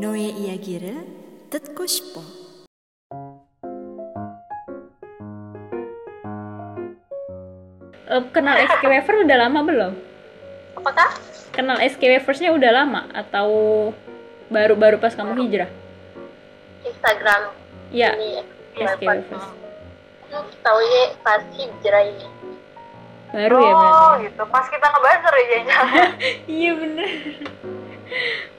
너의 이야기를 듣고 싶어. Eh, kenal SK Wafer udah lama belum? Apakah? Kenal SK Waversnya udah lama atau baru-baru pas kamu hijrah? Instagram Iya, ini SK Wavers. Tahunya pas hijrah ini. Baru ya Oh, berarti? gitu. Pas kita ngebuzzer ya jangan. Iya bener.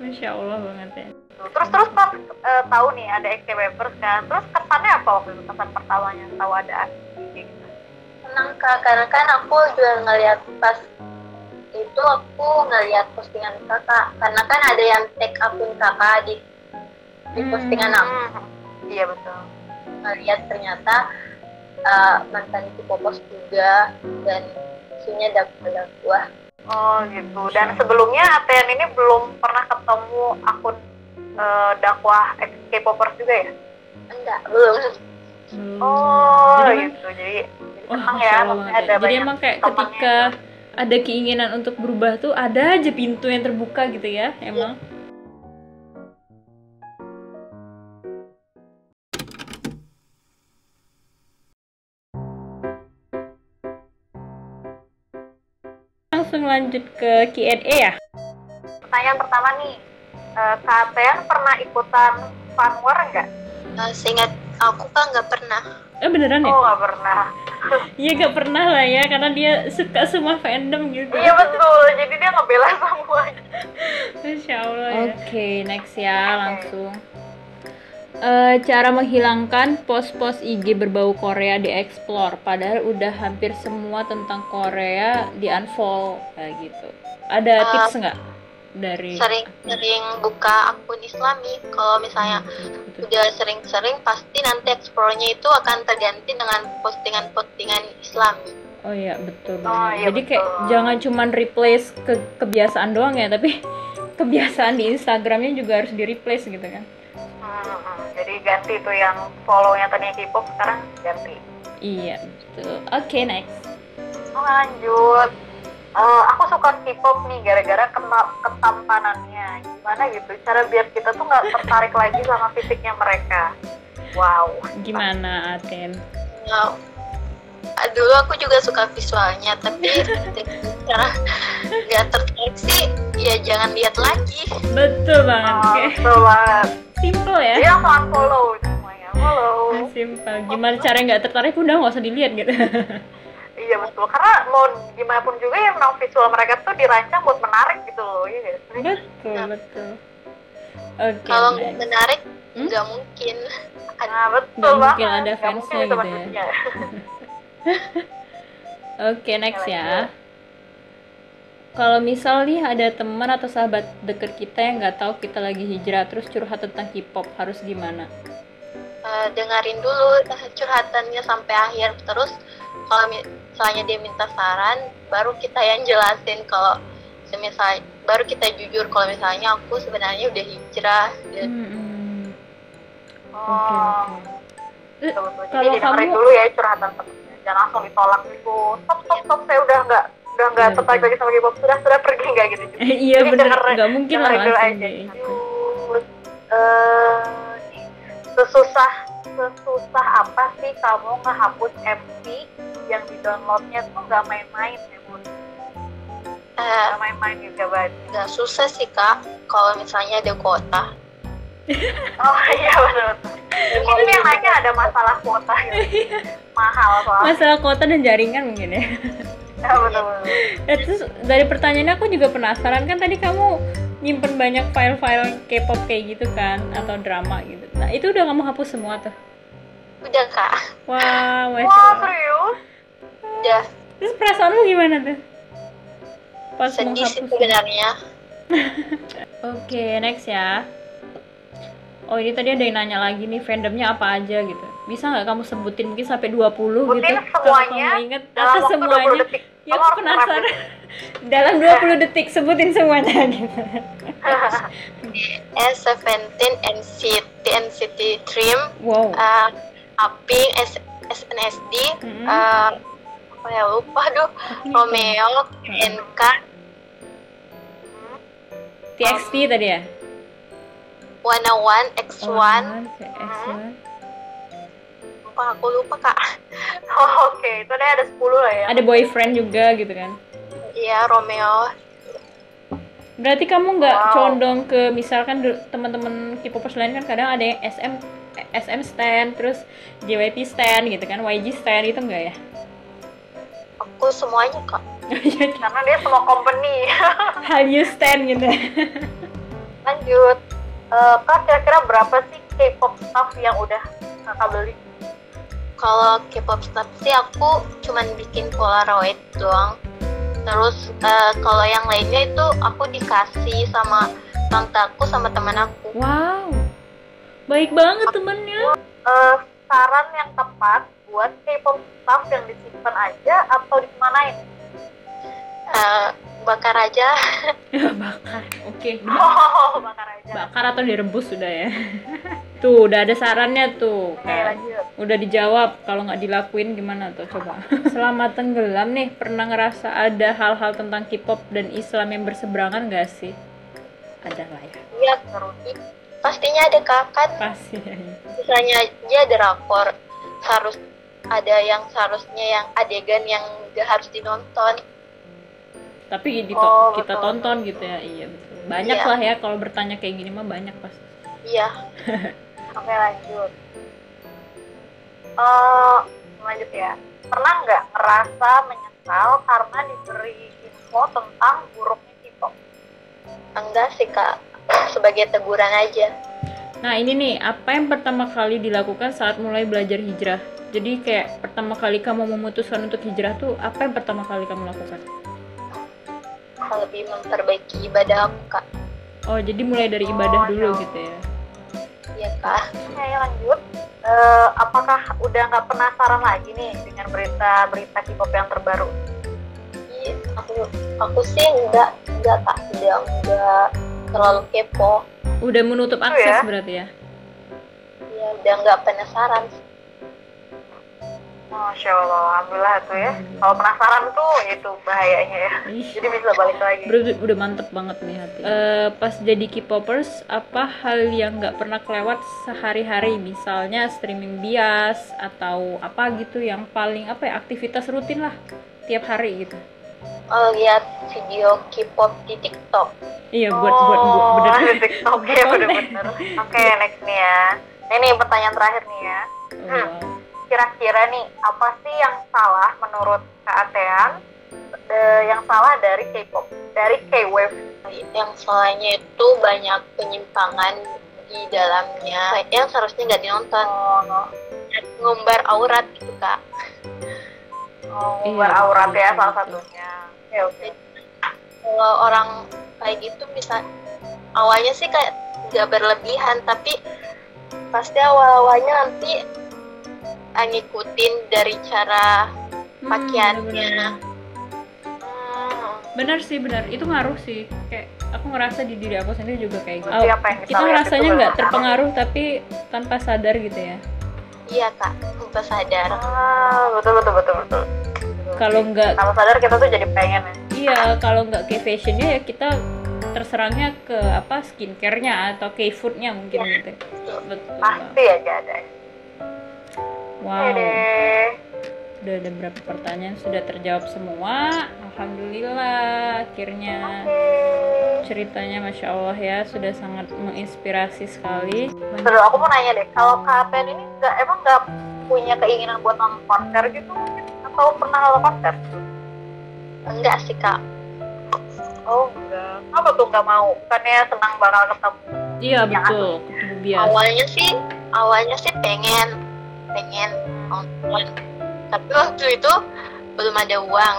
Masya Allah banget ya. terus terus pas eh, tahu nih ada XT Webers kan. Terus kesannya apa waktu itu? Kesan pertamanya tahu ada IG gitu. Senang kak, karena kan aku juga ngeliat pas itu aku ngeliat postingan kakak. Karena kan ada yang tag akun kakak di di Hmm. postingan aku. Iya betul. Ngeliat ternyata eh, mantan itu popos juga dan isinya dakwah dakwah Oh gitu. Dan sebelumnya Aten ini belum pernah ketemu akun eh, dakwah ex K-popers juga ya? enggak belum Belum. Hmm. Oh Jadi emang- gitu. Jadi jadi Wah, senang Masya ya. Allah Maksudnya banget ya. ada Jadi banyak emang kayak temannya ketika ada keinginan untuk berubah tuh ada aja pintu yang terbuka gitu ya Iya. emang. Langsung lanjut ke Q&A ya. Pertanyaan pertama nih, eh, Kak Aten pernah ikutan fanwar nggak? Eh, seingat aku kan nggak pernah Eh beneran ya? Oh nggak pernah. Iya gak pernah lah ya karena dia suka semua fandom gitu. Iya betul. Jadi dia ngebela semua. Masya Allah ya. Oke, next ya langsung. Eh, cara menghilangkan pos-pos IG berbau Korea di explore padahal udah hampir semua tentang Korea di unfollow kayak gitu. Ada Ah. Eh, tips nggak dari sering-sering buka akun islami kalau misalnya Gitu. udah sering-sering pasti nanti explore-nya itu akan terganti dengan postingan-postingan islami Oh iya, betul Oh, banget. iya, Jadi kayak betul. jangan cuman replace ke kebiasaan doang ya, tapi kebiasaan di Instagramnya juga harus di replace gitu kan. Hmm, hmm. jadi ganti tuh yang follow-nya tadinya K-pop sekarang ganti. Iya, betul. Oke, next. Oh, lanjut. Eh, aku suka K-pop nih gara-gara kema- ketampanannya. Gimana gitu? Cara biar kita tuh nggak tertarik lagi sama fisiknya mereka. Wow. Gimana, Aten? Nah, ah, dulu aku juga suka visualnya tapi dengan cara nggak tertarik sih ya jangan lihat lagi Betul banget. Oh, kayak betul banget. Simple ya. Dia langsung unfollow semuanya. Follow. Simpel. Gimana cara nggak tertarik udah nggak usah dilihat gitu. Iya betul. Karena mau gimana pun juga yang non visual mereka tuh dirancang buat menarik gitu loh. Iya nggak sih? betul betul. Oke. kalau nggak baik. menarik Hmm? nggak mungkin Nah, betul Nggak banget. mungkin ada Nggak mungkin fansnya itu gitu ya. maksudnya. Oke next ya. Kalau misal nih ada teman atau sahabat deket kita yang nggak tahu kita lagi hijrah terus curhat tentang K-pop harus gimana? Eh, dengerin dulu eh, curhatannya sampai akhir terus kalau mi- misalnya dia minta saran baru kita yang jelasin kalau semisal baru kita jujur kalau misalnya aku sebenarnya udah hijrah dan Hmm, Oke, Oh, oke. Betul-betul. Eh, Kalau Jadi dengerin kamu- dulu ya curhatan temennya. Jangan langsung ditolak gitu. Stop, stop, stop. Saya udah nggak udah nggak Iya, tertarik betul. lagi sama K-pop. Sudah, sudah pergi nggak gitu. Jadi iya bener dengerin- nggak mungkin lah Iya, dengerin dulu langsung gitu. aja. deh. Terus, eh, sesusah sesusah apa sih kamu ngehapus MV yang di downloadnya tuh nggak main-main ya bun eh, nggak main-main juga ban nggak susah sih kak kalau misalnya ada kuota oh iya benar mungkin ini yang nanya ada masalah kuota gitu. mahal soalnya Masalah kota dan jaringan mungkin ya. Ya, betul-betul. Ya, terus dari pertanyaannya aku juga penasaran kan tadi kamu nyimpen banyak file-file K-pop kayak gitu kan atau drama gitu. Nah itu udah kamu hapus semua tuh. udah kak Wah, wow, wah serius udah Terus perasaanmu gimana tuh? Pas mau sedih sih hapus. sebenarnya Oke next ya. Oh ini tadi ada yang nanya lagi nih fandomnya apa aja gitu. Bisa nggak kamu sebutin mungkin sampai 20 gitu? Sebutin Kalau semuanya kamu inget dalam atau waktu 20 semuanya? detik Ya aku Kamu harus merapin. penasaran. dalam 20 detik sebutin semuanya gitu. S17 NCT NCT Dream Wow. eh Aping S SNSD Mm-mm. eh, apa ya lupa aduh Aku nih- Romeo, NK, TXT tadi ya? 101, X1, Oh, X1. apa aku lupa kak. Oh, Oke, itu deh ada 10 lah ya. Ada boyfriend juga gitu kan. Iya, Romeo. Berarti kamu nggak Wow. condong ke misalkan du- teman-teman K-popers lain kan kadang ada yang SM eh, SM stand, terus JYP stand gitu kan, YG stand itu enggak ya? Aku semuanya kak. Karena dia semua company. Hallyu stand gitu. Lanjut. Eh, kak kira-kira berapa sih K-pop staff yang udah kakak beli? Kalau K-pop stuff sih aku cuman bikin Polaroid doang. Terus eh, kalau yang lainnya itu aku dikasih sama tantaku sama teman aku. Wow. Baik banget temennya. Eh, saran yang tepat buat K-pop staff yang disimpan aja atau dikemanain? Eh, bakar aja. Bakar. Oke. Oh, bakar aja. Bakar atau direbus sudah ya. tuh, udah ada sarannya tuh. Oke, Kan. lanjut. Udah dijawab, kalau nggak dilakuin gimana tuh coba. Selama tenggelam nih, pernah ngerasa ada hal-hal tentang K-pop dan Islam yang berseberangan nggak sih? Ada lah ya, Iya, pastinya ada kak kan pasti. ya. misalnya aja drakor harus ada yang seharusnya yang adegan yang gak harus dinonton Tapi gitu, Oh, kita betul. tonton gitu ya, iya betul. Banyak Iya. lah ya, kalau bertanya kayak gini mah banyak pasti. iya Oke, lanjut. Eh, lanjut ya. Pernah nggak ngerasa menyesal karena diberi info tentang buruknya K-pop? enggak sih kak sebagai teguran aja Nah ini nih, apa yang pertama kali dilakukan saat mulai belajar hijrah? Jadi kayak pertama kali kamu memutuskan untuk hijrah tuh, apa yang pertama kali kamu lakukan? lebih memperbaiki ibadah aku kak Oh, jadi mulai dari ibadah Oh, dulu no. gitu ya? iya kak Oke, lanjut. Eh, apakah udah nggak penasaran lagi nih dengan berita-berita K-pop yang terbaru? Iya, aku aku sih enggak enggak kak enggak enggak terlalu kepo Udah menutup ya. akses berarti ya? ya udah enggak penasaran Masya Allah, alhamdulillah tuh ya. Kalau penasaran tuh itu bahayanya ya. Ih. Jadi bisa balik lagi. Udah, udah mantep banget nih hati. Eh, pas jadi K-popers, apa hal yang nggak pernah kelewat sehari-hari? Misalnya streaming bias atau apa gitu yang paling apa ya aktivitas rutin lah tiap hari gitu. oh, lihat video K-pop di TikTok Iya buat buat buat Oh, bener. di TikTok ya, Konten. bener-bener. Oke, next nih ya. Ini pertanyaan terakhir nih ya. Oh, wow. Kira-kira nih, apa sih yang salah menurut Kak Atean? eh, yang salah dari K-pop, dari K-wave. yang soalnya itu banyak penyimpangan di dalamnya yang seharusnya nggak dinonton Oh, ngumbar aurat gitu kak oh, Iya, buat aurat betul, ya betul, salah betul. satunya. Oke, oke. kalau orang kayak gitu bisa awalnya sih kayak nggak berlebihan tapi pasti awal awalnya nanti ah, ngikutin dari cara Hmm, Pakaiannya. Oh, bener-bener. Hmm, Bener sih bener itu ngaruh sih. Kayak aku ngerasa di diri aku sendiri juga kayak gitu. Berarti apa yang kita kita lihat ngerasanya itu nggak benar. terpengaruh tapi tanpa sadar gitu ya. iya kak tanpa sadar Ah, betul betul betul betul. Kalau nggak Kalau sadar kita tuh jadi pengen ya. Iya, kalau nggak ke fashionnya ya kita terserangnya ke apa skincarenya atau ke foodnya mungkin gitu. Betul. Mbak. Pasti aja ada. Oke Wow, deh. udah ada berapa pertanyaan sudah terjawab semua. Alhamdulillah, akhirnya ceritanya masya Allah ya sudah sangat menginspirasi sekali. Terus aku mau nanya deh, kalau KPN ini nggak emang nggak punya keinginan buat nonton konser gitu mungkin atau pernah nonton konser? enggak sih kak Oh enggak. Apa tuh nggak mau? Bukannya senang bakal ketemu? Iya betul, ketemu bias. awalnya sih awalnya sih pengen pengen nonton tapi waktu itu belum ada uang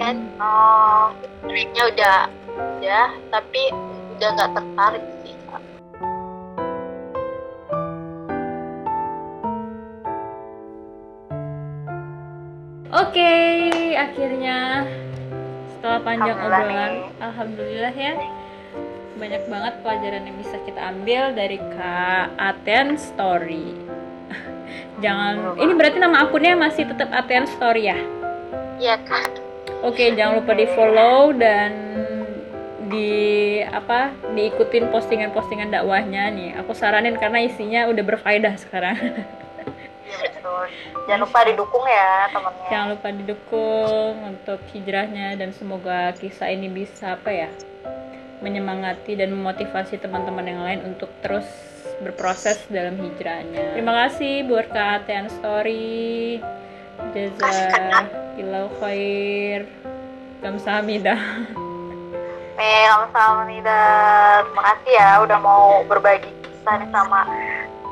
kan Oh, triknya udah udah tapi udah nggak tertarik sih Kak. Oke, akhirnya setelah panjang Alhamdulillah obrolan, nih. alhamdulillah ya. Banyak banget pelajaran yang bisa kita ambil dari Kak Aten Story. jangan ini berarti nama akunnya masih tetap Aten Story ya. iya kak Oke, jangan lupa di-follow dan di di apa diikutin postingan-postingan dakwahnya nih. Aku saranin karena isinya udah berfaedah sekarang. Iya, betul. Jangan lupa didukung ya temennya. Jangan lupa didukung untuk hijrahnya dan semoga kisah ini bisa apa ya menyemangati dan memotivasi teman-teman yang lain untuk terus berproses dalam hijrahnya. Terima kasih buat Kak Atean Story. Jazakillahu khair. Kamsahamnida. Nih, Alhamdulillah. Terima kasih ya udah mau berbagi kisah nih sama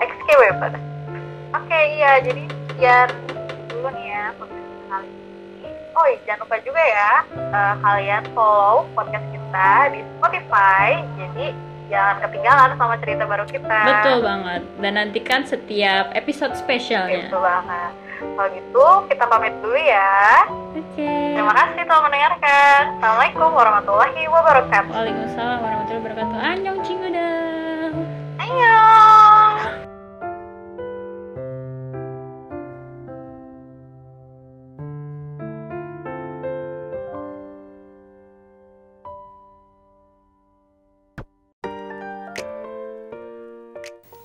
XK Weber. Oke, iya. Jadi sekian dulu nih ya podcast kali ini. Oh, iya, jangan lupa juga ya eh, kalian follow podcast kita di Spotify. Jadi jangan ketinggalan sama cerita baru kita. Betul banget. Dan nantikan setiap episode spesialnya. Betul Gitu banget. Kalau gitu kita pamit dulu ya. Oke. Terima kasih telah mendengarkan. Assalamualaikum warahmatullahi wabarakatuh. Waalaikumsalam warahmatullahi wabarakatuh. Annyeong cingudang. Annyeong.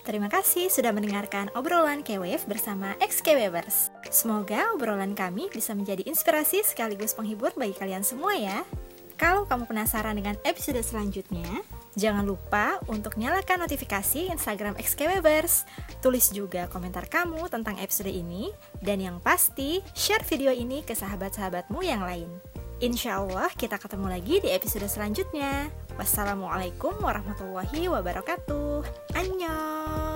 Terima kasih sudah mendengarkan obrolan K-Wave bersama ex-K-Wavers. Semoga obrolan kami bisa menjadi inspirasi sekaligus penghibur bagi kalian semua ya. Kalau kamu penasaran dengan episode selanjutnya, jangan lupa untuk nyalakan notifikasi Instagram ex-K-Wavers. Tulis juga komentar kamu tentang episode ini, dan yang pasti share video ini ke sahabat-sahabatmu yang lain. Insya Allah kita ketemu lagi di episode selanjutnya. Wassalamualaikum warahmatullahi wabarakatuh. Annyeong.